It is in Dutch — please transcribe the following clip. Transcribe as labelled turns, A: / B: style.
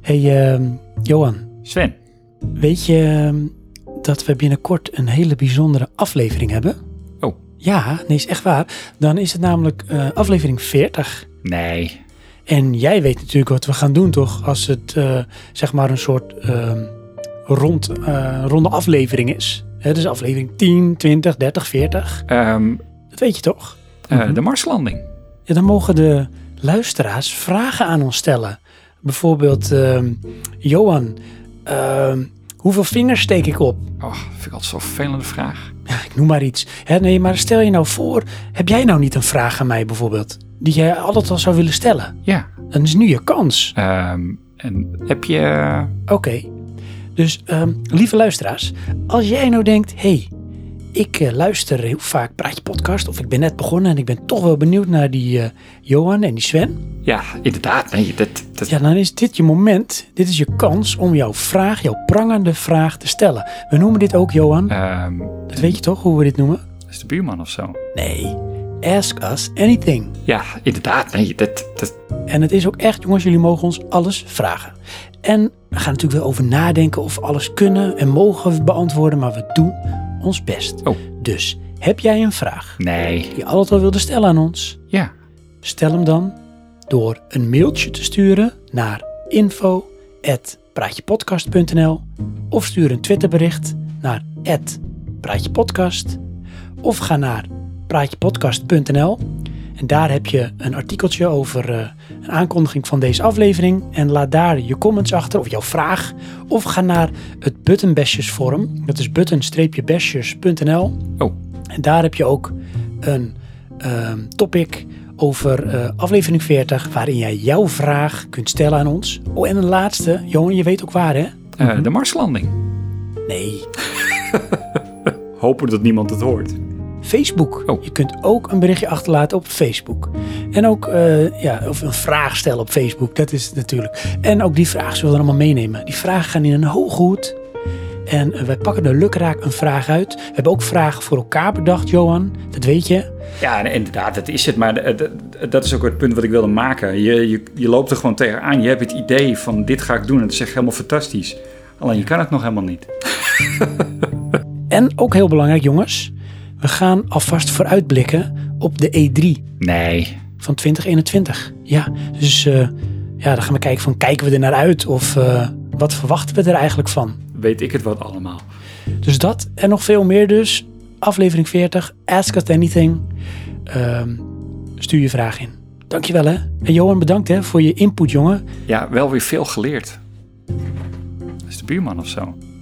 A: hey, ehm, Johan,
B: Sven,
A: weet je ehm, dat we binnenkort een hele bijzondere aflevering hebben?
B: Oh.
A: Ja, nee, is echt waar. Dan is het namelijk eh, aflevering 40.
B: nee.
A: En jij weet natuurlijk wat we gaan doen, toch? Als het eh, zeg maar een soort ehm, rond, eh, ronde aflevering is. Hè, dus aflevering 10, 20, 30, 40.
B: Ehm,
A: Dat weet je toch?
B: eh,
A: Mhm.
B: De Marslanding.
A: Ja, dan mogen de luisteraars vragen aan ons stellen. Bijvoorbeeld, ehm, Johan, ehm, hoeveel vingers steek ik op?
B: Oh, vind ik altijd zo'n vervelende vraag.
A: Ja, ik noem maar iets. Hè, nee, maar stel je nou voor, heb jij nou niet een vraag aan mij bijvoorbeeld? Die jij altijd al zou willen stellen.
B: Ja.
A: Dan is nu je kans.
B: ehm, en heb je... eh,
A: Oké. Dus, ehm, lieve luisteraars, als jij nou denkt, hey, ik eh, luister heel vaak Praatje Podcast, of ik ben net begonnen en ik ben toch wel benieuwd naar die eh, Johan en die Sven.
B: Ja, inderdaad. Nee, dat, dat,
A: Ja, dan is dit je moment. Dit is je kans om jouw vraag, jouw prangende vraag te stellen. We noemen dit ook, Johan.
B: ehm,
A: Dat weet je toch hoe we dit noemen?
B: dat is de buurman of zo.
A: Nee. Ask us anything.
B: Ja, inderdaad. Nee, dat, dat,
A: En het is ook echt, jongens, jullie mogen ons alles vragen. En we gaan natuurlijk wel over nadenken of we alles kunnen en mogen beantwoorden, maar we doen ons best.
B: Oh.
A: Dus heb jij een vraag
B: nee.
A: die je altijd al wilde stellen aan ons?
B: Ja.
A: Stel hem dan door een mailtje te sturen naar info.praatjepodcast.nl of stuur een Twitterbericht naar @praatjepodcast of ga naar praatjepodcast.nl en daar heb je een artikeltje over eh, een aankondiging van deze aflevering en laat daar je comments achter of jouw vraag of ga naar het buttonbesjesforum. Dat is button-besjes.nl
B: Oh,
A: en daar heb je ook een ehm, topic over eh, aflevering 40, waarin jij jouw vraag kunt stellen aan ons. Oh, en een laatste. Johan, je weet ook waar, hè?
B: eh, de Marslanding.
A: Nee.
B: Hopen dat niemand het hoort.
A: Facebook.
B: Oh.
A: Je kunt ook een berichtje achterlaten op Facebook. En ook eh, ja, of een vraag stellen op Facebook. Dat is het natuurlijk. En ook die vraag zullen we dan allemaal meenemen. Die vragen gaan in een hoge hoed. En eh, wij pakken er lukraak een vraag uit. We hebben ook vragen voor elkaar bedacht, Johan. Dat weet je.
B: Ja, en inderdaad, dat is het. Maar eh, dat- dat is ook het punt wat ik wilde maken. Je, je, je loopt er gewoon tegenaan. Je hebt het idee van dit ga ik doen. En het is echt helemaal fantastisch. Alleen je kan het nog helemaal niet.
A: En ook heel belangrijk, jongens, we gaan alvast vooruitblikken op de E3
B: Nee.
A: van 2021. Ja, dus eh, ja, dan gaan we kijken van kijken we er naar uit of eh, wat verwachten we er eigenlijk van.
B: Weet ik het wat allemaal.
A: Dus dat en nog veel meer dus. Aflevering 40, Ask Us Anything. Ehm, stuur je vraag in. Dankjewel hè. En Johan, bedankt hè voor je input, jongen.
B: Ja, wel weer veel geleerd. Dat is de buurman of zo.